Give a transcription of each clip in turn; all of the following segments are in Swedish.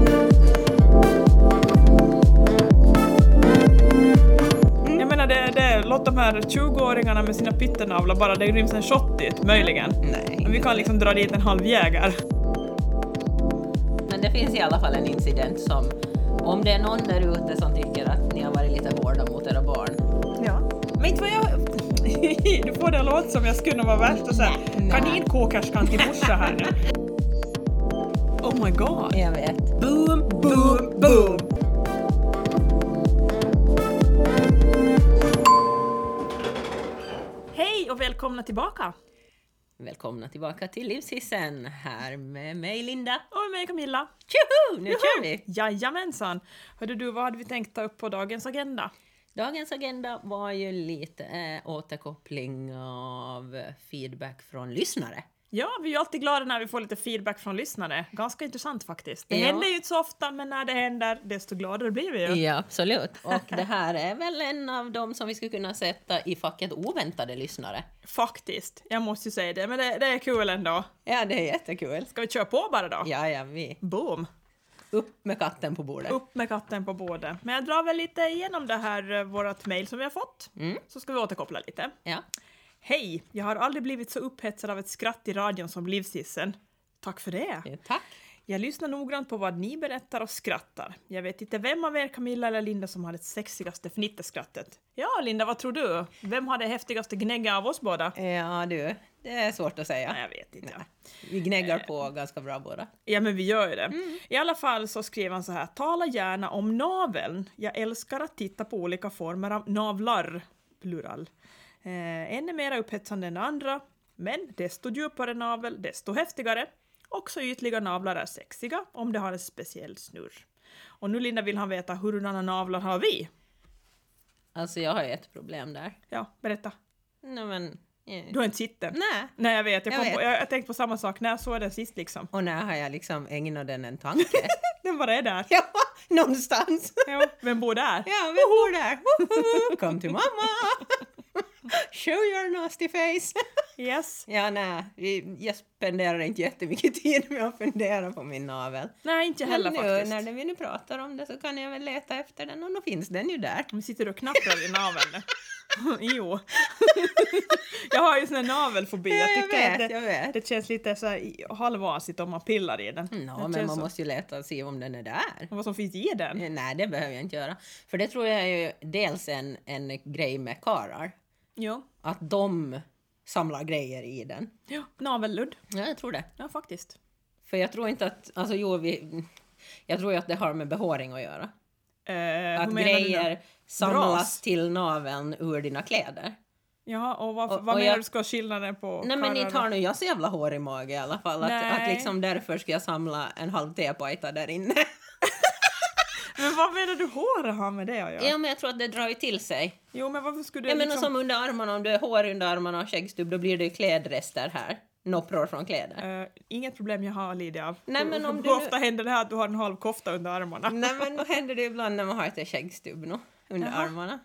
Mm. här 20-åringarna med sina pyttenavlor bara det ryms en shot dit, möjligen. Men Nej. vi kan liksom dra dit en halv jägare. Men det finns i alla fall en incident som, om det är någon där ute som tycker att ni har varit lite hårda mot era barn. Ja. Men inte vad jag... du får det att låta som jag skulle vara värsta så här Nej. kaninkokerskan till morsa här nu. Oh my god. Jag vet. Boom, boom, boom! Hej och välkomna tillbaka! Välkomna tillbaka till Livshissen här med mig Linda. Och med Camilla. Tjoho! Nu kör vi! Jajamensan! Hörde du, vad hade vi tänkt ta upp på dagens agenda? Dagens agenda var ju lite eh, återkoppling av feedback från lyssnare. Ja, vi är ju alltid glada när vi får lite feedback från lyssnare. Ganska intressant faktiskt. Det Ja. händer ju inte så ofta, men när det händer desto gladare blir vi ju. Ja, absolut. Och det här är väl en av dem som vi skulle kunna sätta i facket oväntade lyssnare. Faktiskt. Jag måste ju säga det, men det, det är kul ändå. Ja, det är jättekul. Ska vi köra på bara då? Ja, ja, vi. Boom! Upp med katten på bordet. Upp med katten på båden. Men jag drar väl lite igenom det här, eh, vårat mejl som vi har fått, Mm. så ska vi återkoppla lite. Ja. Hej! Jag har aldrig blivit så upphetsad av ett skratt i radion som livsissen. Tack för det! Eh, Tack. Jag lyssnar noggrant på vad ni berättar och skrattar. Jag vet inte vem av er, Camilla eller Linda, som har det sexigaste fnitteskrattet. Ja, Linda, vad tror du? Vem har det häftigaste gnägga av oss båda? Eh, Ja, du. Det är svårt att säga. Nej, jag vet inte. Vi gnäggar på ganska bra båda. Ja, men vi gör ju det. Mm. I alla fall så skrev han så här, tala gärna om naveln. Jag älskar att titta på olika former av navlar. Plural. Eh, ännu mer upphetsande än andra, men desto djupare navel, desto häftigare. Också ytliga navlar är sexiga om de har en speciell snurr. Och nu Linda vill han veta, hurdana navlar har vi? Alltså, jag har ju ett problem där. Ja, berätta. Nej, men... eh, Du har inte sett den? Nej. Nej, jag vet. Jag, Jag kom På, vet. jag, jag tänkte på samma sak. När jag såg den sist liksom? Och när har jag liksom ägnat den en tanke? Den bara är där. ja, någonstans. Jo, vem bor där? Ja, vi bor där. Woho! Kom till mamma! Show your nasty face! Yes. Ja, nej, vi- jag spenderar inte jättemycket tid med att fundera på min navel. Nej, inte jag heller Men nu, faktiskt. när vi nu pratar om det så kan jag väl leta efter den och då finns den ju där. Nu sitter du och knappar i naveln. jo. jag har ju sån här navelfobi. Ja, jag tycker att vet, det, jag vet. det känns lite så här i- halvasigt om man pillar i den. Nå, Det Mm, men känns man så. måste ju leta och se om den är där. Eh, Vad som finns i den? Nej, det behöver jag inte göra. För det tror jag är ju dels en, en grej med karar. Jo. Att de samlar grejer i den. Ja, navelludd. Ja, jag tror det. Ja, faktiskt. För jag tror inte att, alltså jo, vi, jag tror ju att det har med behåring att göra. Eh, hur menar du Att nu? grejer samlas Dras. till naveln ur dina kläder. Jaha, och vad, Och- vad och menar jag- du ska skillnaden på Nej men karlar inte har och- nu jag så jävla hårig mage i alla fall. Att, Nej. att liksom därför ska jag samla en halv tepajta där inne. Men vad menar du håret har med det att göra? Ja. men jag tror att det drar ju till sig. Jo, men varför skulle du Ja men och liksom... som under armarna, om du är hår under armarna och skäggstubb då blir det ju klädrester här. Noppror från kläder. Eh, inget problem jag har Lidia av. Nej, men om Hur du nu- Mm. ofta händer det här att du har en halv kofta under armarna? Nej men då händer det ju ibland när man har ett skäggstubb nå, under Jaha. armarna.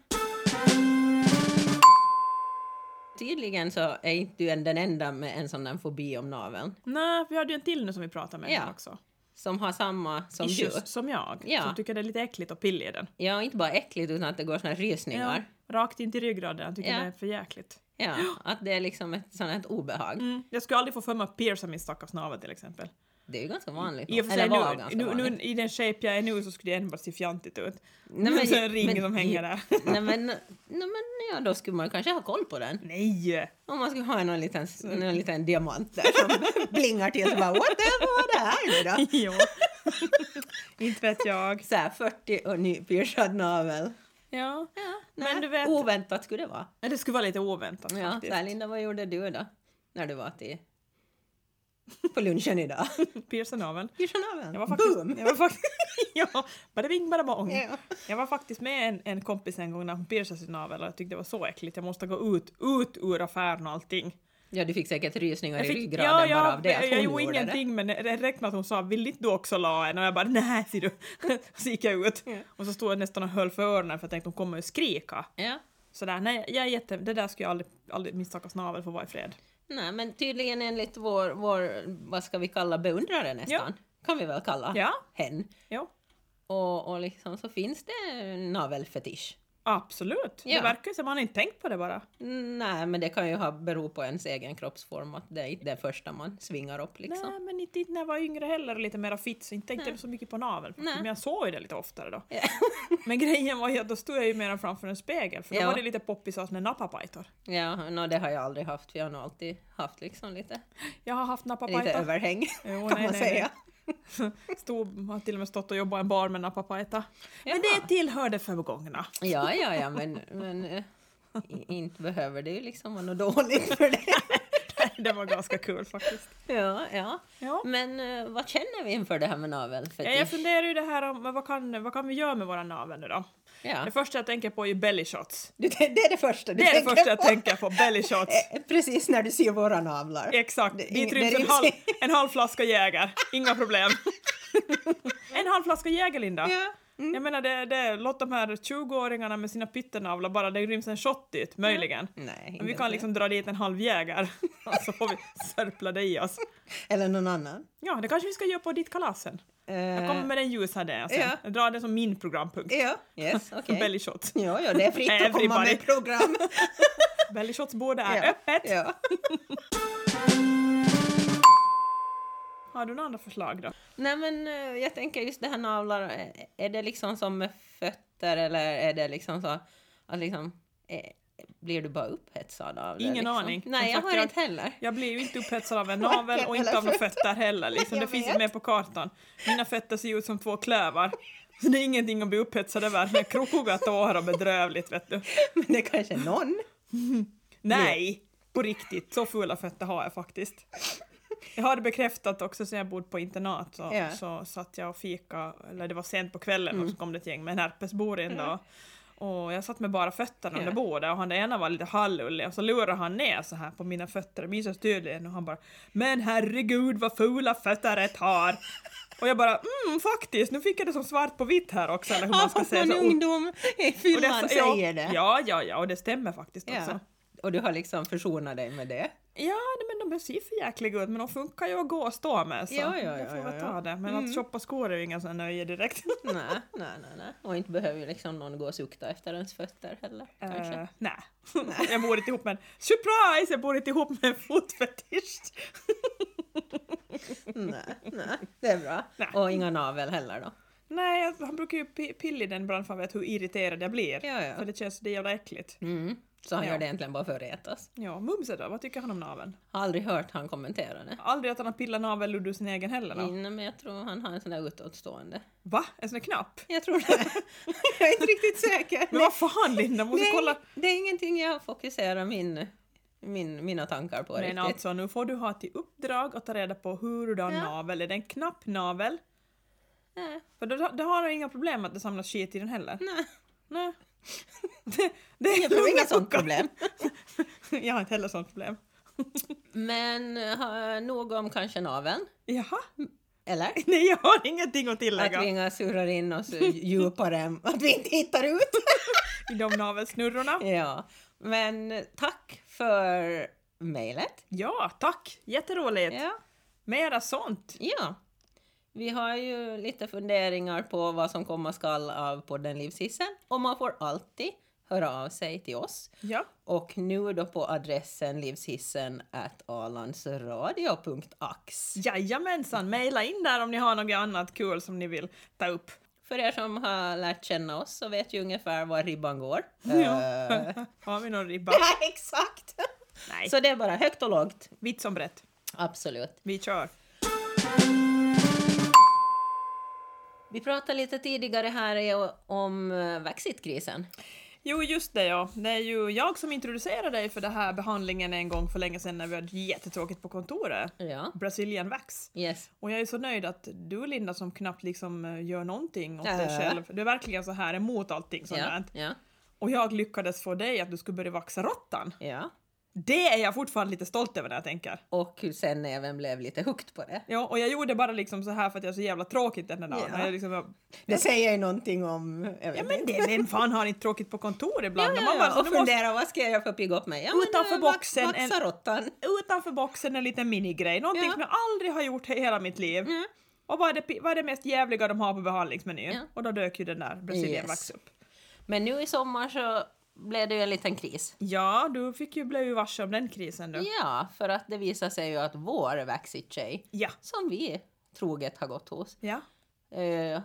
Tydligen så är inte du en- den enda med en sån där fobi om naveln Nej, vi hade ju en till nu som vi pratade med Ja. också. som har samma som Issues, du. som jag, Ja. som tycker det är lite äckligt att pilla i den. Ja, inte bara äckligt utan att det går såna här rysningar. Rakt in till ryggraden, jag tycker Ja. det är för jäkligt. Ja. att det är liksom ett sånt här ett obehag. Mm. Jag skulle aldrig få för mig att pierca min stackars navel till exempel. Det är ju ganska vanligt. I och för Eller sig var nu, ganska nu, vanligt. nu, i den shape jag är nu så skulle det ändå bara se fjantigt ut. Nej, Nej, men- men, så en ring men- som hänger där. nej men, nej, men ja, då skulle man kanske ha koll på den. Nej! Om man skulle ha någon liten, någon liten diamant där som blingar till så bara what the hell var det här nu då? jo. Inte vet jag. så här 40 och nypiercad navel. Ja. Ja, Men nej, du vet- Oväntat skulle det vara. Men det skulle vara lite oväntat Ja, så faktiskt. här, Linda, vad gjorde du då? När du var till... På lunchen idag. Pierca naveln. Piercad naveln. Jag var faktiskt, Boom! Jag var faktiskt, ja, bara bing bara bong. Ja. Jag var faktiskt med en, en kompis en gång när hon piercade sin navel och jag tyckte det var så äckligt. Jag måste gå ut, ut ur affären och allting. Ja, du fick säkert rysningar Jag i fick, ryggraden ja, ja, bara av det. att jag, jag hon gjorde gjorde ingenting men det räckte med att hon sa vill inte du också la en? Och jag bara nej ser du. så gick jag ut. Ja. Och så stod jag nästan och höll för öronen för jag tänkte hon kommer ju skrika. Det. Ja. Sådär, nej jag är jätte, det där skulle jag aldrig, aldrig min stackars navel få vara i fred. Nej, men tydligen enligt vår, vår, vad ska vi kalla beundrare nästan? Kan vi väl kalla Ja. hen. Jo. Och, och liksom så finns det en navelfetisch. Absolut, det Ja. verkar ju som man inte tänkt på det bara. Nej, men det kan ju ha, bero på ens egen kroppsform, att det är inte det första man svingar upp liksom. Nej, men inte, inte när jag var yngre heller och lite mer fit så inte tänkte jag så mycket på naveln. Nej. Men jag såg ju det lite oftare då. Ja. Men grejen var ju att då stod jag ju mer framför en spegel för då Ja. var det lite poppis att med napapajtor. Ja, nå det har jag aldrig haft, för jag har nog alltid haft liksom lite, Jag har haft lite napapajta. överhäng, Jo, kan nej, man nej, säga. Stod, har till och med stått och jobbat i en bar med napapajta. Men Jaha. det tillhör det förgångna. Ja, ja, ja, men, men eh, i- inte behöver det ju liksom vara något dåligt för det. det var ganska kul faktiskt. Ja, ja. Ja. Men eh, vad känner vi inför det här med Ja, Jag navelfetisch? funderar ju det här om men vad kan, vad kan vi göra med våra naveln nu då? Ja. Det första jag tänker på är ju belly shots. Du, det är det första du Det är det tänker första jag på. tänker på, belly shots. Eh, Precis när du ser våra navlar. Exakt, Det- dit det ryms en ryms- halv, en halv flaska Jäger. Inga problem. En halv flaska Jäger, Linda. Ja. Jag menar, det, det, låt de här 20-åringarna med sina pyttenavlar bara, det ryms en shot dit, Mm. möjligen. Nej, Men vi inte kan det. liksom dra dit en halv Jäger, och så får vi sörpla det i oss. Eller någon annan. Eh, Ja, det kanske vi ska göra på ditt kalas sen. Jag kommer med den ljusa den sen. Ja. Jag drar den som min programpunkt. Ja, yes, okej. Belly shots. Ja, ja, det är fritt att komma Everybody. med program. Belly shots både är ja. öppet. Ja. Har du några andra förslag då? Nej, men eh, jag tänker just det här navlar, eh, är det liksom som med fötter eller är det liksom så att liksom, eh, blir du bara upphetsad av det? Ingen liksom? aning. Som Nej, jag sagt, har jag- inte heller. Jag blir ju inte upphetsad av en navel och inte av några fötter heller. Liksom. Det Jag finns vet. ju med på kartan. Mina fötter ser ju ut som två klövar. Så det är ingenting att bli upphetsad över. Men krokiga tår och bedrövligt vet du. Men det kanske är någon. Nej! På riktigt, så fula fötter har jag faktiskt. Jag har det bekräftat också sen jag bodde på internat så, Ja. Mm. så satt jag och fika, eller det var sent på kvällen och så kom det ett gäng med en herpesbor in då. Och jag satt med bara fötterna under Ja. bordet och han den ena var lite halvullig och så lurade han ner så här på mina fötter, det minns jag så tydligen och han bara “Men herregud vad fula fötter ett har!” Och jag bara “Mm faktiskt, nu fick jag det som svart på vitt här också” eller hur man ska Att säga. någon Så, oh. ungdom i Och det- Finland säger det. Ja, ja, ja, och det stämmer faktiskt Ja. också. alltså. Och du har liksom försonat dig med det. Ja, nej, men de ser för jäkliga ut men de funkar ju att gå och stå med så Ja, ja, jag får ja, Mm. väl ja, ta ja. det. Men att shoppa skor är ju inga sådana nöje direkt. Nej, nej, nej, nej. Och inte behöver ju liksom någon gå och sukta efter ens fötter heller. Kanske. Eh, nej. jag bor inte ihop med en... Surprise! Jag bor inte ihop med en fotfetisch! Nej, nej. Det är bra. Nej. Och inga navel heller då. Nej, jag- han brukar ju pi- pilla i den ibland för han vet hur irriterad jag blir. Ja, ja. För det känns så det jävla äckligt. Mm. Så han Ja. gör det egentligen bara för att retas. Ja, Mumse då? Vad tycker han om naveln? Har aldrig hört han kommentera det. Aldrig att han har pillat naveln ur sin egen heller då? Nej, men jag tror han har en sån där utåtstående. Va? En sån där knapp? Jag tror det. jag är inte riktigt säker. Men vad fan Linda, måste det, är, kolla! det är ingenting jag fokuserar min, min, mina tankar på Men riktigt. alltså nu får du ha till uppdrag att ta reda på hur du har Ja. navel. Är det en knapp navel? Nej, För då, då har du inga problem att det samlas skit i den heller. nej. Nej. Det, det är Jag tror Mm. inga sånt problem. Jag har inte heller sånt problem. Men uh, nog om kanske naveln, Jaha? eller? Nej, jag har ingenting att tillägga. Att vi inga surrar in oss djupare än att vi inte hittar ut. I de navelsnurrorna. ja. Men eh, tack för mejlet. Ja, tack! Jätteroligt! Ja. Mera sånt! ja. Vi har ju lite funderingar på vad som komma skall av podden Livshissen och man får alltid höra av sig till oss. Ja. Och nu då på adressen livshissen at alandsradio.ax. Jajamensan, mejla in där om ni har något annat kul som ni vill ta upp. För er som har lärt känna oss så vet ju ungefär var ribban går. Ja. Eh, Har vi någon ribba? Ja, exakt! Nej. Så det är bara högt och lågt. Vitt som brett. Absolut. Vi kör. Vi pratade lite tidigare här i- om eh, Brexitkrisen. Jo, just det ja. Det är ju jag som introducerade dig för den här behandlingen en gång för länge sedan när vi hade jättetråkigt på kontoret. Ja. Brazilian Wax. Yes. Och jag är så nöjd att du Linda som knappt liksom eh, gör någonting åt dig Äh. själv. Du är verkligen så här emot allting sånt Ja. där. Ja. Och jag lyckades få dig att du skulle börja vaxa råttan. ja. Det är jag fortfarande lite stolt över när jag tänker. Och sen även blev lite hooked på det. Ja, och jag gjorde bara liksom så här för att jag är så jävla tråkigt den här dagen. Ja. Jag liksom, bara, Det säger ju någonting om... Jag vet ja men det, vem fan har inte tråkigt på kontor ibland? Ja, Och man bara ja, så, och "Nu måste- fundera, vad ska jag göra för att pigga upp mig? Ja, Utanför men, eh, boxen vax- en- Vaxa råttan. utanför boxen en liten minigrej, någonting Ja. som jag aldrig har gjort i hela mitt liv. Mm. Och vad är, det, pi- vad är det mest jävliga de har på behandlingsmenyn? Ja. Och då dök ju den där Brasilien Yes. Vax upp. Men nu i sommar så blev det ju en liten kris. Ja, du fick ju blev ju varse om den krisen då. Ja, för att det visar sig ju att vår Vaxit-tjej, Ja. som vi troget har gått hos, Ja. eh,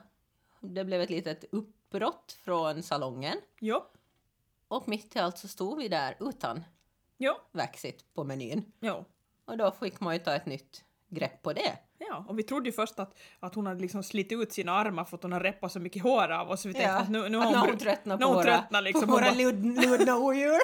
det blev ett litet uppbrott från salongen Jo. och mitt i allt så stod vi där utan Jo. Vaxit på menyn. Jo. Och då fick man ju ta ett nytt grepp på det. Ja, och vi trodde ju först att, att hon hade liksom slitit ut sina armar för att hon har repat så mycket hår av oss. Så vi tänkte att nu, nu har att hon, när bru- hon tröttnar nu på har hon våra, tröttnat liksom. på Hon våra bara, lud- ludna odjur.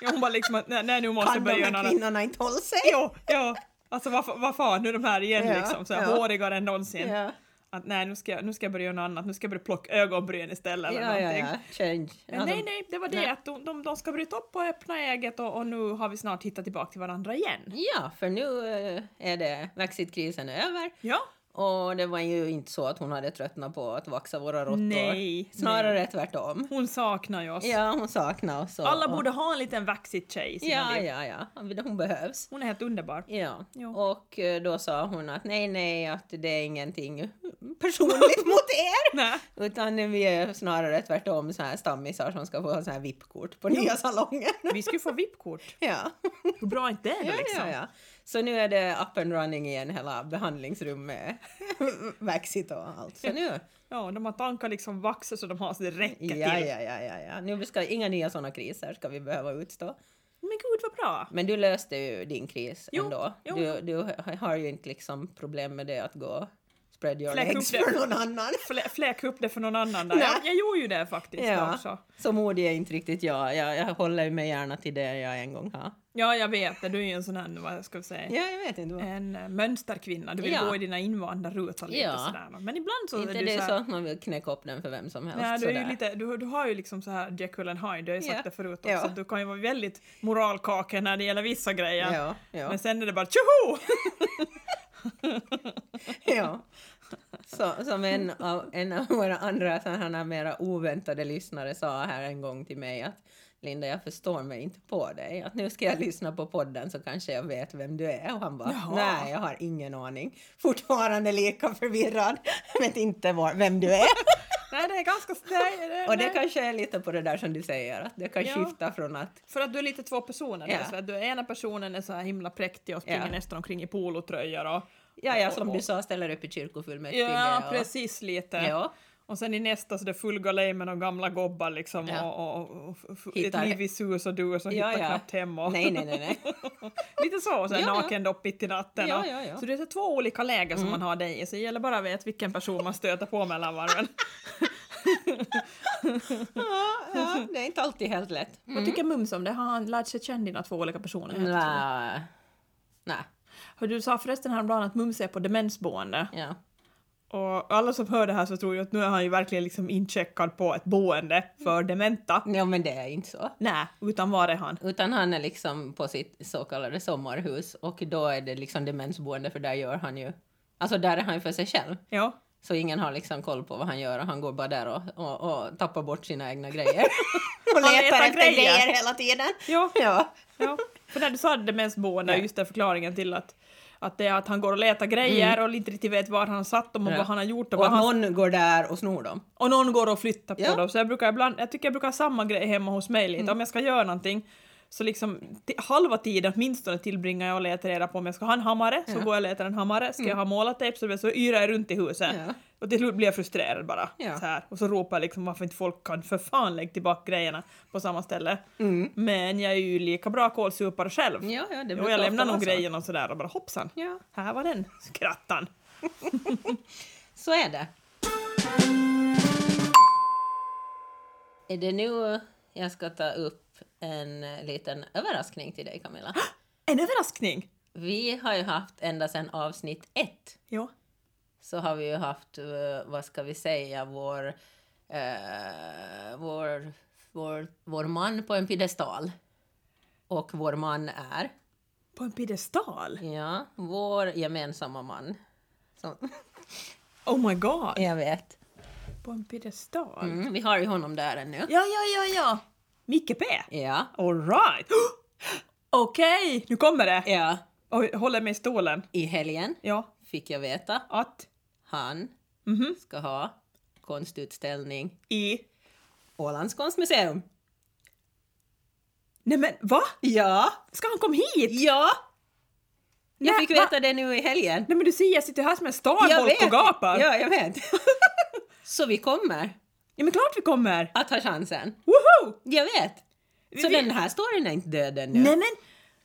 ja, hon bara liksom att nej, nej nu måste Kan jag de börja göra här något. kvinnorna inte hålla sig? Jo, ja. Alltså vad, fa- vad fan, nu är de här igen Ja, liksom. Så här, ja. Hårigare än någonsin. Ja, Att nej, nu ska, jag- nu ska jag börja göra något annat. Nu ska jag börja plocka ögonbryn istället eller ja, ja, någonting. ja. Change. Men Alltså, nej, nej, det var det nej. att de, de, de ska bryta upp och öppna eget och, och nu har vi snart hittat tillbaka till varandra igen. Ja, för nu eh, är det vaxitkrisen över. Ja, Och det var ju inte så att hon hade tröttnat på att vaxa våra råttor. Nej, Snarare tvärtom. hon saknar ju oss. Ja, hon saknar oss. och- Alla och- borde ha en liten vaxigt tjej i sina Ja, liv. ja, ja. Hon behövs. Hon är helt underbar. Ja. Ja. och eh, då sa hon att nej, nej, att det är ingenting personligt mot er. Nej. Utan vi är snarare tvärtom så här stammisar som ska få ha så här VIP-kort på nya salongen. Vi skulle få VIP-kort. Ja. Hur bra är inte det Ja, då liksom? ja, ja. Så nu är det up and running igen, hela behandlingsrummet, vaxit och allt. Så nu, Ja, de har tankar liksom vaxet så de har så det räcker till. ja, ja, ja, ja, ja. Nu ska inga nya sådana kriser ska vi behöva utstå. Men gud vad bra! Men du löste ju din kris Jo, ändå. jo. Du, du har ju inte liksom problem med det att gå spread your Fläck upp legs det. för någon annan. Flä, fläk upp det för någon annan där. Nej. Jag, jag gjorde ju det faktiskt Ja, också. så modig är inte riktigt jag. jag. Jag håller mig gärna till det jag en gång har. Ja, jag vet det. Du är ju en sån här, vad ska vi säga, Ja, jag vet inte vad. en eh, mönsterkvinna. Du vill Ja. gå i dina invanda rutor lite Ja. sådär. va. Men ibland så inte är du det är så så här, att man vill knäcka upp den för vem som helst. Nej, du, är sådär. ju lite, du, du har ju liksom så här Jekyll and Hyde, du har ju sagt Ja. det förut också. Ja. att Du kan ju vara väldigt moralkaka när det gäller vissa grejer. Ja, ja. Men sen är det bara tjoho! Ja. Så, som en av, en av våra andra sådana mera oväntade lyssnare sa här en gång till mig att Linda, jag förstår mig inte på dig. Att nu ska jag lyssna på podden så kanske jag vet vem du är. Och han bara, Jaha. nej, jag har ingen aning. Fortfarande lika förvirrad. Jag vet inte var, vem du är. Nej, det är ganska... Nej, det, Och det nej. kanske är lite på det där som du säger, att det kan Ja. skifta från att För att du är lite två personer. Ja. där, Så att du, ena personen är så här himla präktig och springer Ja. nästan omkring i polotröjor. Och, Ja, ja, som du sa, ställer upp i kyrkofullmäktige. ja, och- precis lite. Ja, Och sen i nästa så det är full galej med de gamla gobbar liksom Ja. och, och, och, och Hittar- ett liv i sus och dus och ja, hittar ja. knappt hem och Nej, nej, nej, nej. lite så, så här Ja, ja. nakendopp mitt i natten. Ja, och, ja, ja. Mm. Så det är så två olika läger som man har dig i så det gäller bara att veta vilken person man stöter på mellan varven. Ja, ja, det är inte alltid helt lätt. Vad tycker Mums om det? Har han lärt sig känna dina två olika personer? Mm. Nej. Nej. Hör Du sa förresten häromdagen att Mums är på demensboende. Ja. Och alla som hör det här så tror ju att nu är han ju verkligen liksom incheckad på ett boende för dementa. ja, men det är inte så. Nej, utan var är han? Utan han är liksom på sitt så kallade sommarhus och då är det liksom demensboende för där gör han ju... Alltså där är han ju för sig själv. Ja. Så ingen har liksom koll på vad han gör och han går bara där och, och, och tappar bort sina egna grejer. och Han letar grejer. hela tiden. Ja, Ja. ja. För när du sa demensboende, just den förklaringen till att, att det är att han går och letar grejer och inte riktigt vet var han satt dem och Mm. Ja. vad han har gjort. Och, Och vad att han, någon går där och snor dem. och någon går och flyttar på Ja. Mm. dem. Så jag, brukar ibland, jag tycker jag brukar ha samma grej hemma hos mig lite. Om jag ska göra någonting så liksom ti- halva tiden åtminstone tillbringar jag och letar reda på om jag ska ha en hammare, så Ja. Mm. går jag och letar en hammare. Ska jag ha målartejp så, så yrar jag runt i huset. Ja. Och till slut blir jag frustrerad bara. Ja. Så här. Och så ropar jag liksom varför inte folk kan för fan lägga tillbaka grejerna på samma ställe. Men jag är ju lika bra kålsupare själv. Mm. Ja, ja, det Jo, brukar jag lämnar ofta vara nog så. grejerna och sådär och bara hoppsan, Ja, här var den skrattan. så är det. Är det nu jag ska ta upp en eh, liten överraskning till dig Camilla? En överraskning! Vi har ju haft ända sedan avsnitt ett Ja. så har vi ju haft, eh, vad ska vi säga, vår, eh, vår, vår, vår man på en piedestal. Och vår man är, På en piedestal? ja, vår gemensamma man. Så, Oh my god! jag vet. På en piedestal? Mm, vi har ju honom där ännu. Ja, ja, ja, ja! Micke P! Ja. Alright! Okej, nu kommer det! Ja, Oj, håller mig i stolen. i helgen Ja, fick jag veta att, han mhm, ska ha konstutställning i, Ålands konstmuseum. Nej men va? Ja, Ska han komma hit? ja! Jag Nej, fick va? veta det nu i helgen. Nej men du ser, jag sitter här som en Jag starbolt och gapar. Ja. Ja, jag vet. Så vi kommer men klart vi kommer! att ha chansen. Woho! Jag vet! Så Vi- den här storyn är inte död ännu. Nej men,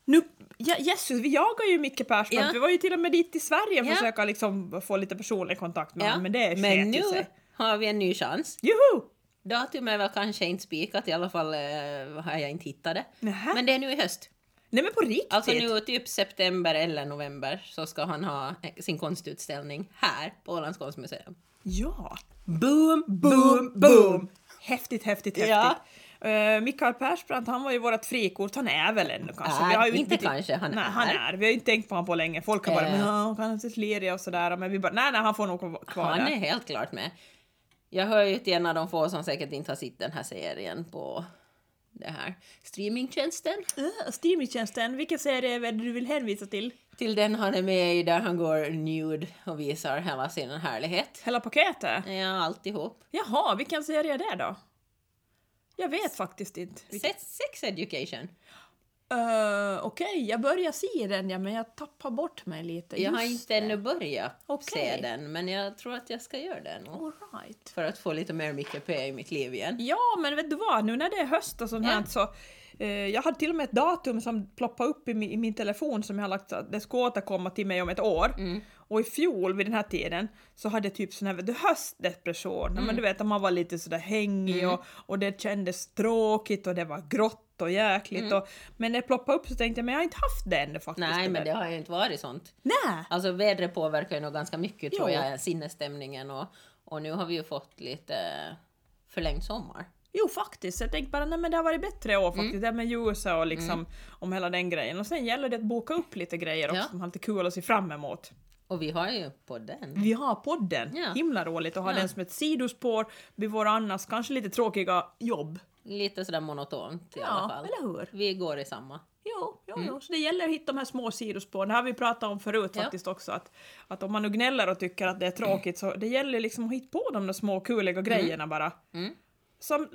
nu, ja, Jesus, vi jagar ju Micke Persbrandt, Ja. vi var ju till och med dit till Sverige och Ja. försöka liksom få lite personlig kontakt med Ja, honom, men det men sket ju nu sig. har vi en ny chans. Juhu! Datumet var kanske inte spikat, i alla fall eh, har jag inte hittat det. Nähä. Men det är nu i höst. Nej men på riktigt! Alltså nu typ september eller november så ska han ha eh, sin konstutställning här på Ålands konstmuseum. Ja! Boom, Boom, boom! Häftigt, häftigt, häftigt. Ja. Eh, Mikael Persbrandt, han var ju vårt frikort, han är väl ännu kanske? Är, Vi har ju inte kanske, han nej, är. han är. Vi har ju inte tänkt på honom på länge. Folk har bara Eh. men ja, han är så slirig och sådär, men vi bara nej, nej, han får nog vara kvar Han där. är helt klart med. Jag hör ju till en av de få som säkert inte har sett den här serien på det här streamingtjänsten. Uh, streamingtjänsten, vilken serie är det du vill hänvisa till? Till den han är med i där han går nude och visar hela sin härlighet. Hela paketet? Ja, alltihop. Jaha, vilken serie är det då? Jag vet faktiskt inte. Vilken... Se- Sex education. Eh, Okej, jag börjar se den ja, men jag tappar bort mig lite. Jag har Just inte ännu börjat Okej. se den, men jag tror att jag ska göra det nog. All right. För att få lite mer Micke P i mitt liv igen. Ja, men vet du vad, nu när det är höst och sånt Ja. här så... eh, jag hade till och med ett datum som ploppade upp i min, i min telefon som jag har lagt så att det ska återkomma till mig om ett år. Mm. Och i fjol vid den här tiden så hade jag typ sån här vet du, höstdepression. Mm. Men du vet att man var lite sådär hängig och, och det kändes tråkigt och det var grått och jäkligt. Och, men när det ploppade upp så tänkte jag men jag har inte haft det ännu faktiskt. Mm. Nej, men där. det har ju inte varit sånt. Nej! Alltså vädret påverkar ju nog ganska mycket tror Jo. jag, sinnesstämningen och, och nu har vi ju fått lite förlängd sommar. Jo faktiskt, jag tänkte bara nej men det har varit bättre år Mm. faktiskt, det här med ljuset och liksom om hela den grejen. Och sen gäller det att boka upp lite grejer också Ja. som har lite kul att se fram emot. Och vi har ju podden. Vi har podden, Mm. Ja. himla roligt att ha Ja. den som ett sidospår vid våra annars kanske lite tråkiga jobb. Lite sådär monotont i alla Ja, fall. eller hur? Vi går i samma. Jo, jo, jo. så det gäller att hitta de här små sidospåren. Det har vi pratat om förut Mm. Ja. faktiskt också, att, att om man nu gnäller och tycker att det är tråkigt så det gäller liksom att hitta på de där små kuliga grejerna bara. Mm. som,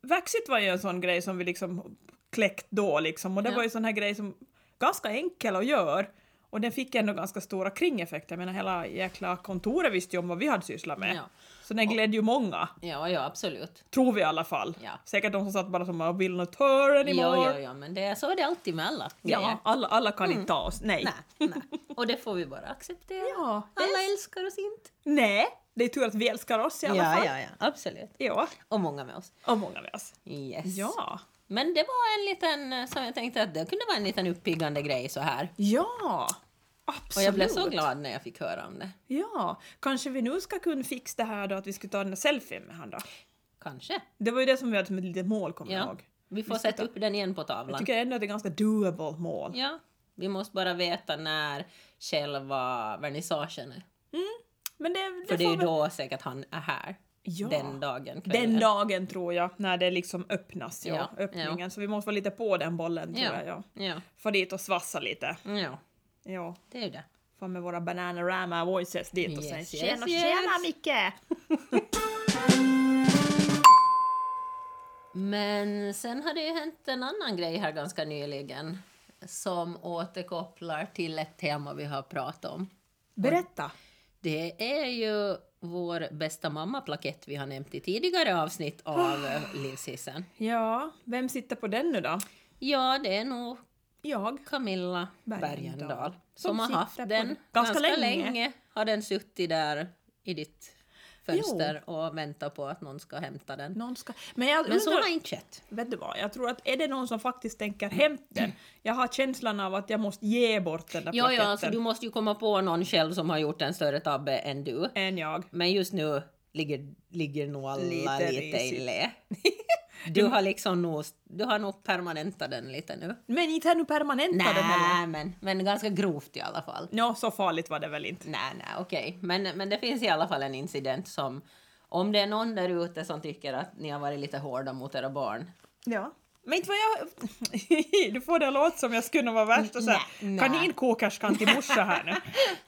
Vaxit var ju en sån grej som vi liksom kläckt då liksom och det Ja. var ju sån här grej som ganska enkel att göra och den fick ändå ganska stora kringeffekter. Jag menar hela jäkla kontoret visste ju om vad vi hade sysslat med. Ja. Så den glädde ju många, ja, ja absolut. tror vi i alla fall. Ja. Säkert de som satt bara som "I “vill not her Ja, anymore”. ja, ja, men det är, så är det alltid med alla Ja, grejer. alla, alla kan inte ta oss, nej. Mm. Nej, nej. Och det får vi bara acceptera. Ja, det är- alla älskar oss inte. Nej, det är tur att vi älskar oss i alla fall. ja, ja, absolut. ja. Och många med oss. Och många med oss. Yes. Ja. Men det var en liten, eh, som jag tänkte att det kunde vara en liten uppiggande grej så här. Ja! Absolut. Och jag blev så glad när jag fick höra om det. Ja, kanske vi nu ska kunna fixa det här då att vi skulle ta den där selfien med han då. Kanske. Det var ju det som vi hade som ett litet mål kommer jag Ja. ihåg. Vi får sätta upp den igen på Jag tavlan. tycker ändå att det är ganska doable mål. Ja. Vi måste bara veta när själva vernissagen är. Mm. Men det, det För det är får ju väl- då säkert han är här. ja. Den dagen. kvällen. Den dagen tror jag, när det liksom öppnas, ja, Ja, öppningen. Så vi måste vara lite på den bollen tror Ja. jag. Ja. Ja. Få dit och svassa lite. ja, Ja. det är ju det. Fan med våra bananarama voices dit och sen Yes, tjena yes, tjena yes. Micke! Men sen har det ju hänt en annan grej här ganska nyligen som återkopplar till ett tema vi har pratat om. Berätta! Det är ju vår bästa mamma-plakett vi har nämnt i tidigare avsnitt av eh, Livshissen. Ja, vem sitter på den nu då? Ja, det är nog Jag. Camilla Bergendahl. Bergendahl Som som har haft sitter på den den. ganska, Ganska länge. länge. Har den suttit där i ditt fönster och väntat på att någon ska hämta den. Någon ska... Men jag Men så undrar- har inte skett. Vet du vad, jag tror att är det någon som faktiskt tänker hämta den, jag har känslan av att jag måste ge bort den där Ja, ja, plaketten alltså du måste ju komma på någon själv som har gjort en större tabbe än du. än jag. Men just nu ligger, ligger nog alla Lite lite, i risigt. lä. Du har liksom nog, du har nog permanentat den lite nu. Men inte här nu permanenta den heller. Nej, men, men ganska grovt i alla fall. Nå, så farligt var det väl inte. Nej, nej, okej. Men, men det finns i alla fall en incident som... Om det är någon där ute som tycker att ni har varit lite hårda mot era barn. Ja. Men inte vad jag... du får det att låta som jag skulle vara värsta så här, Nej, nej. kaninkokerskan till morsa här nu.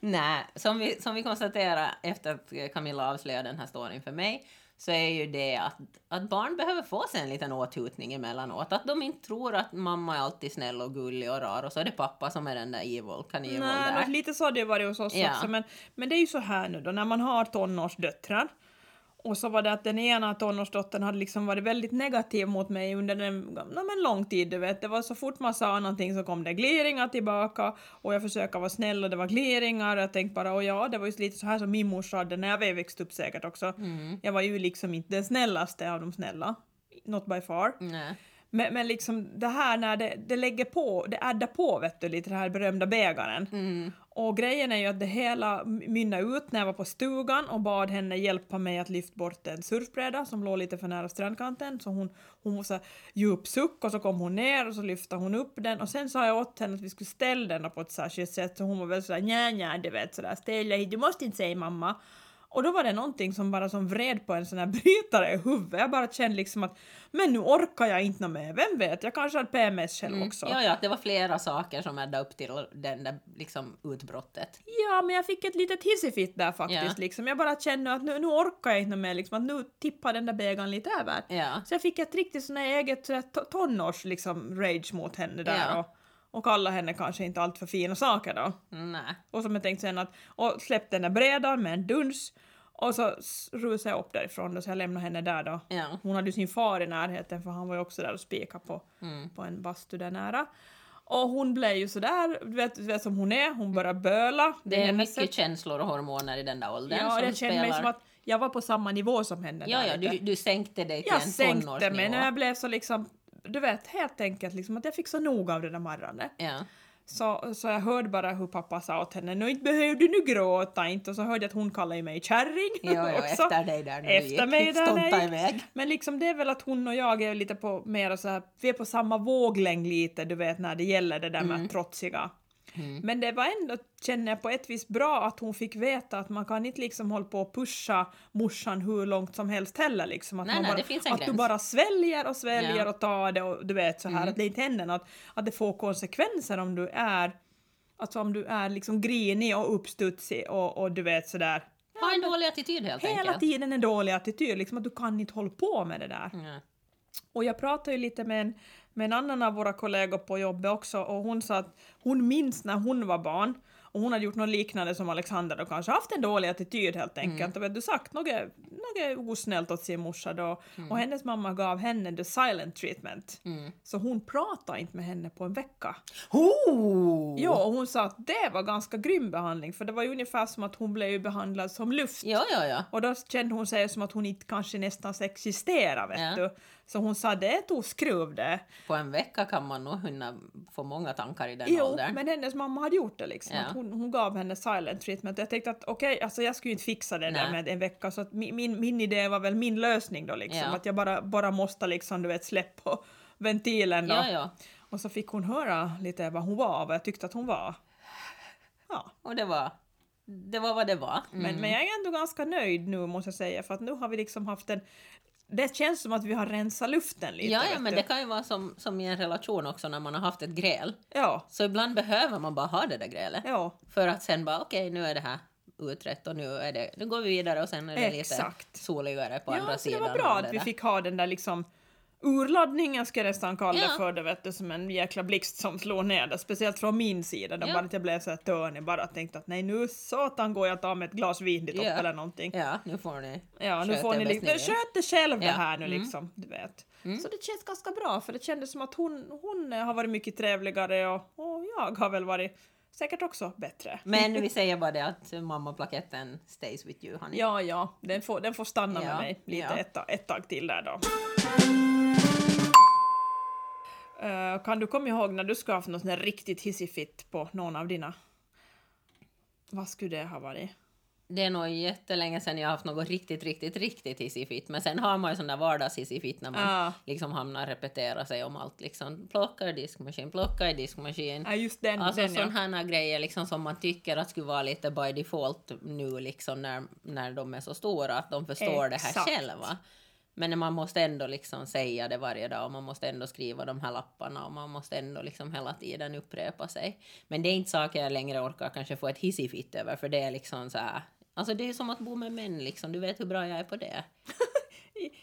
Nej, som vi, som vi konstaterade efter att Camilla avslöjade den här storyn för mig så är ju det att, att barn behöver få sig en liten åthutning emellanåt. Att de inte tror att mamma är alltid snäll och gullig och rar och så är det pappa som är den där evil, kan evil Nej, där. men lite så har det varit hos oss Ja. också. Men, men det är ju så här nu då, när man har tonårsdöttrar och så var det att den ena tonårsdottern hade liksom varit väldigt negativ mot mig under en ja, men lång tid. Du vet. Det var så fort man sa någonting så kom det gliringar tillbaka och jag försökte vara snäll och det var gliringar och jag tänkte bara "Åh ja, det var ju lite så här som min morsa hade när jag växte upp säkert också. Jag var ju liksom inte den snällaste av de snälla. Not by far. Nej. Men, men liksom det här när det, det lägger på, det addar på vet du lite den här berömda bägaren. Mm. Och grejen är ju att det hela mynnade ut när jag var på stugan och bad henne hjälpa mig att lyfta bort en surfbräda som låg lite för nära strandkanten. Så hon, hon var så här djup suck och så kom hon ner och så lyfte hon upp den och sen sa jag åt henne att vi skulle ställa den på ett särskilt sätt så hon var väl sådär nja nja du vet sådär ställa hit, du måste inte säga mamma. Och då var det någonting som bara som vred på en sån här brytare i huvudet. Jag bara kände liksom att men nu orkar jag inte nå med. Vem vet, jag kanske har PMS själv också. Mm. Ja, ja, att det var flera saker som ädde upp till den där liksom utbrottet. Ja, men jag fick ett litet hissifitt där faktiskt. Ja. Liksom. Jag bara kände att nu, nu orkar jag inte mer, liksom, att nu tippar den där bägaren lite över. Ja. Så jag fick ett riktigt sån här eget sådär to- tonårs liksom, rage mot henne där Ja. och, och kallade henne kanske inte allt för fina saker då. Nej. Och som jag tänkte sen att, och släppte den där brädan med en duns och så s- rusade jag upp därifrån då, så jag lämnade henne där då. Ja. Hon hade ju sin far i närheten för han var ju också där och spikade på, Mm. på en bastu där nära. Och hon blev ju sådär, du vet, du vet som hon är, hon började böla. Det är hennes sätt. mycket känslor och hormoner i den där åldern Ja, som det kände spelar. mig som att jag var på samma nivå som henne. Ja, där ja, lite. du, du sänkte dig till jag en sänkte mig tonårsnivå. när jag blev så liksom, du vet helt enkelt liksom att jag fick så nog av det där marrandet. Ja. Så, så jag hörde bara hur pappa sa åt henne, nu inte behöver du nu gråta inte, och så hörde jag att hon kallade mig kärring Ja, ja, också. efter dig där när du Efter gick. mig där när jag Stompa gick. iväg. Men liksom det är väl att hon och jag är lite på mera så här, vi är på samma våglängd lite, du vet när det gäller det där med Mm. trotsiga. Men det var ändå, känner jag på ett vis bra att hon fick veta att man kan inte liksom hålla på och pusha morsan hur långt som helst heller liksom. Att, Nej, man nej, bara, det finns en att du gräns. bara sväljer och sväljer Ja. Mm. och tar det och du vet så här att det inte händer något. Att det får konsekvenser om du är, alltså om du är liksom grinig och uppstudsig och, och du vet sådär Ha en dålig attityd helt hela enkelt. tiden en dålig attityd, liksom att du kan inte hålla på med det där. Mm. Ja. Och jag pratade ju lite med en, med en annan av våra kollegor på jobbet också och hon sa att hon minns när hon var barn och hon hade gjort något liknande som Alexander och kanske haft en dålig attityd helt Mm. enkelt. Och vet du sagt något, något osnällt åt sin morsa då Mm. och hennes mamma gav henne the silent treatment. Så hon pratade inte med henne på en vecka. Oh! Ja, och hon sa att det var ganska grym behandling för det var ju ungefär som att hon blev ju behandlad som luft. Ja, ja, ja. Och då kände hon sig som att hon inte kanske nästan existerar vet Ja. du. Så hon sa det tog skruv det. På en vecka kan man nog hinna få många tankar i den Jo, åldern. men hennes mamma hade gjort det liksom. Ja. Att hon, hon gav henne silent treatment. Jag tänkte att okej, alltså jag skulle ju inte fixa det där Nej. med en vecka så att min, min, min idé var väl min lösning då liksom. Ja. Att jag bara, bara måste liksom du vet släppa ventilen då. Ja, ja. Och så fick hon höra lite vad hon var, vad jag tyckte att hon var. Ja. Och det var, det var vad det var. Men, men jag är ändå ganska nöjd nu måste jag säga för att nu har vi liksom haft en... Det känns som att vi har rensat luften lite. Ja, ja, vet men du. det kan ju vara som, som i en relation också när man har haft ett gräl. Ja, Så ibland behöver man bara ha det där grälet. ja, För att sen bara okej, nu är det här utrett och nu, är det, nu går vi vidare och sen är det Exakt. lite soligare på andra ja så det sidan. var bra av det att vi där. fick ha den där liksom urladdningen ska jag nästan kalla det Ja. för det vet du, som en jäkla blixt som slår ner det, speciellt från min sida. Det var Ja. bara att jag blev så här törnig bara och tänkte att nej nu satan går jag att ta med ett glas vin i topp Ja. eller någonting. Ja, nu får ni Ja, nu sköta får er ni bäst liksom, vill. sköt det själv det Ja. Mm. här nu liksom, du vet. Så det känns ganska bra för det kändes som att hon, hon eh, har varit mycket trevligare och, och jag har väl varit säkert också bättre. Men vi säger bara det att mammaplaketten stays with you honey. Ja, ja, den får, den får stanna med Ja, mig lite ja. ett, ta- ett tag till där då. Eh, kan du komma ihåg när du skulle ha haft något sånt här riktigt hissifitt på någon av dina? Vad skulle det ha varit? Det är nog jättelänge sedan jag har haft något riktigt, riktigt, riktigt hissifit. Men sen har man ju sån där vardagshissifit när man Ja. liksom hamnar och repetera sig om allt. Liksom, plocka i diskmaskin, plocka i diskmaskin. Ja, just den. Alltså den ja. sådana här grejer liksom som man tycker att skulle vara lite by default nu liksom när, när de är så stora att de förstår det Exakt. här själva. Men man måste ändå liksom säga det varje dag och man måste ändå skriva de här lapparna och man måste ändå liksom hela tiden upprepa sig. Men det är inte saker jag längre orkar kanske få ett hissifitt över för det är liksom så här. Alltså det är som att bo med män liksom, du vet hur bra jag är på det.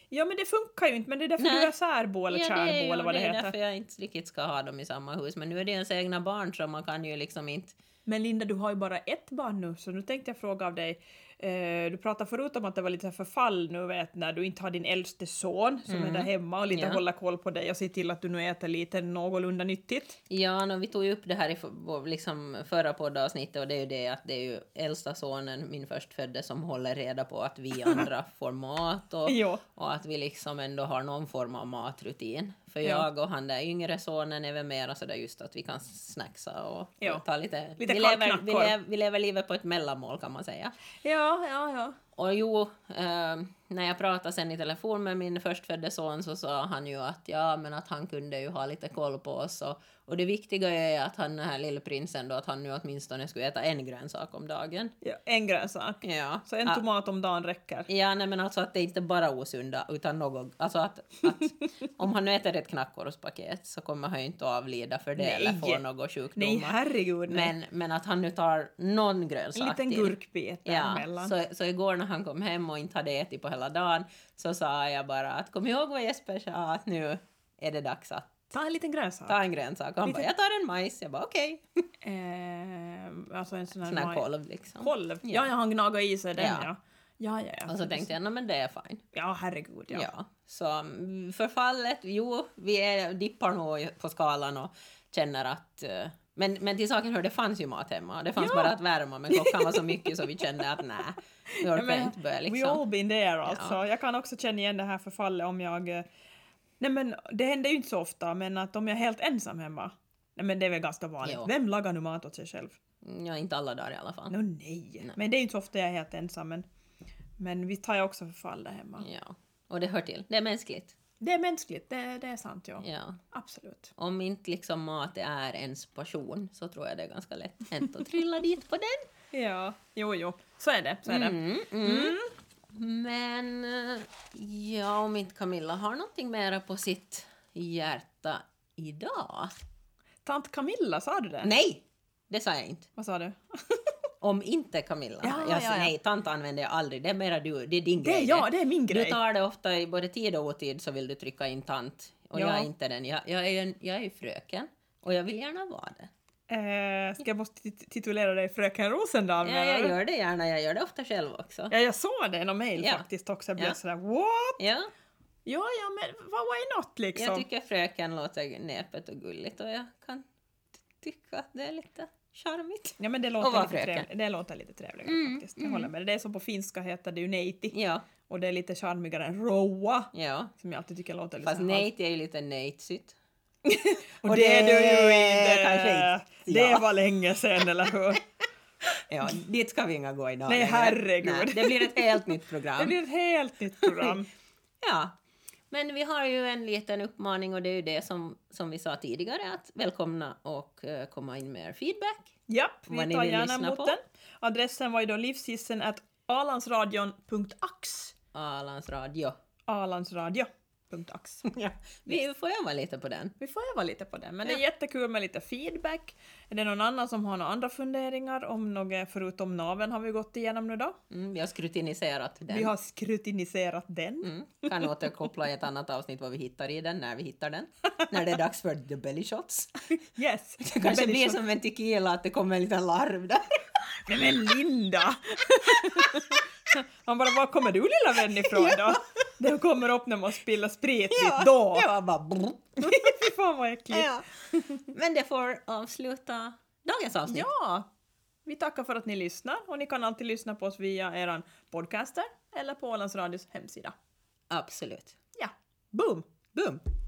Ja men det funkar ju inte, men det är därför Nej. du är särbo eller ja, det är, kärbo ju- eller vad det, det är heter. därför jag inte riktigt ska ha dem i samma hus. Men nu är det ju ens egna barn så man kan ju liksom inte... Men Linda, du har ju bara ett barn nu, så nu tänkte jag fråga av dig. Eh, du pratade förut om att det var lite så här förfall nu vet, när du inte har din äldste son som är där hemma och lite Mm. Ja. håller koll på dig och ser till att du nu äter lite någorlunda nyttigt. Ja, no, vi tog ju upp det här i för- vår, liksom förra poddavsnittet och det är ju det att det är ju äldsta sonen, min förstfödde, som håller reda på att vi andra får mat och, Ja. och att vi liksom ändå har någon form av matrutin. För Ja. jag och han där yngre sonen är väl mera sådär just att vi kan snacksa och, Ja. och ta lite... Lite vi, lever, vi, kallknackor. lever, vi lever livet på ett mellanmål kan man säga. Ja, ja, ja. Och jo, eh, när jag pratade sen i telefon med min förstfödde son så sa han ju att ja, men att han kunde ju ha lite koll på oss och, och det viktiga är att han den här lillprinsen då, att han nu åtminstone skulle äta en grönsak om dagen. En grönsak. Ja. Så en Ah, tomat om dagen räcker. Ja, nej men alltså att det inte bara är osunda utan något, alltså att, att om han nu äter ett knackorospaket så kommer han ju inte att avlida för det eller Nej. få några sjukdomar. Nej, herregud nej. men, men att han nu tar någon grönsak En liten till. gurkbit Ja, däremellan. så, så igår när han kom hem och inte hade ätit på hela dagen så sa jag bara att kom ihåg vad Jesper sa att nu är det dags att Ta en liten grönsak. ta en grönsak. Och han Lite- bara jag tar en majs. Jag bara okej. Ehm, alltså en sån här... Sån här maj- kolv liksom. Kolv? Ja. Ja, ja han gnagar i sig den Ja. ja. Ja, ja, ja. Och så tänkte jag "Nå, men det är fine. Ja, herregud Ja. ja. Så mm, förfallet, jo vi är, dippar nog på skalan och känner att eh, men, men till saken hör, det fanns ju mat hemma. Det fanns Ja. bara att värma, men klockan var så mycket så vi kände att nej, vi orkar men, inte börja We liksom. all been there alltså. Jag kan också känna igen det här förfallet om jag... eh, Nej men det händer ju inte så ofta, men att om jag är helt ensam hemma. Nej men det är väl ganska vanligt. Jo. Vem lagar nu mat åt sig själv? Mm, Ja, inte alla dagar i alla fall. Nå nej. Men det är ju inte så ofta jag är helt ensam. Men, men visst har jag också förfall där hemma. Ja, och det hör till. Det är mänskligt. Det är mänskligt, det, det är sant ja. Ja. Absolut. Om inte liksom mat är ens passion så tror jag det är ganska lätt hänt att trilla dit på den. Ja, jo jo. Så är det. Så är det. Mm, mm. Men eh, ja, om inte Camilla har någonting mera på sitt hjärta idag. Tant Camilla, sa du det? Nej! Det sa jag inte. Vad sa du? Om inte Camilla. Ja, jag, ja, sa- ja. Nej, tant använder jag aldrig. Det är mera du. Det är din Det är grej. jag, det är min Du grej. tar det ofta i både tid och otid så vill du trycka in tant. Och Ja. jag är inte den. Jag, jag, är, ju en- jag är ju fröken. Och jag vill gärna vara det. Eh, ska jag måste tit- titulera dig Fröken Rosendal? Ja, menar jag du? gör det gärna. Jag gör det ofta själv också. ja, jag såg det i någon mejl Ja. faktiskt också. Jag blev Ja. sådär what? Ja, Ja, ja, men vad why not liksom? jag tycker fröken låter näpet och gulligt och jag kan ty- tycka att det är lite charmigt. Ja men det Och vara låter, lite fröken. trevligt. det låter lite trevligare Mm, faktiskt. Jag håller med dig. Det är som på finska heter det ju neiti Ja, och det är lite charmigare än roa ja. som jag alltid tycker låter lite Fast så här halvt. nejt är ju lite nejtsigt. Och, och det, är det du ju inte! kanske inte. Ja. Det var länge sedan eller hur? Ja, dit ska vi inga gå idag. Nej, längre. herregud. Nej, det blir ett helt nytt Det program. blir ett helt nytt program. Ja. Men vi har ju en liten uppmaning och det är ju det som, som vi sa tidigare att välkomna och eh, komma in med er feedback. Japp, Vad vi ni tar vill gärna lyssna emot på. den. Adressen var ju då livshissen at alandsradion.ax Alans radio. alandsradio.ax. Vi får öva lite på den. Vi får öva lite på det, men det är jättekul med lite feedback. Är det någon annan som har några andra funderingar om något förutom naven har vi gått igenom nu då? Mm, vi har skrutiniserat den. Vi har skrutiniserat den. Mm. Kan återkoppla i ett annat avsnitt vad vi hittar i den, när vi hittar den. När det är dags för the belly shots. Yes! Det kanske blir som en tequila, att det kommer en liten larv där. Nej men Linda! Man bara, var kommer du lilla vän ifrån då? Den kommer upp när man spiller sprit dit då! Det var bara brr. Fy fan vad äckligt! ja. Men det får avsluta dagens avsnitt. Ja! Vi tackar för att ni lyssnar och ni kan alltid lyssna på oss via eran podcaster eller på Ålands Radios hemsida. Absolut. Ja, boom! Boom!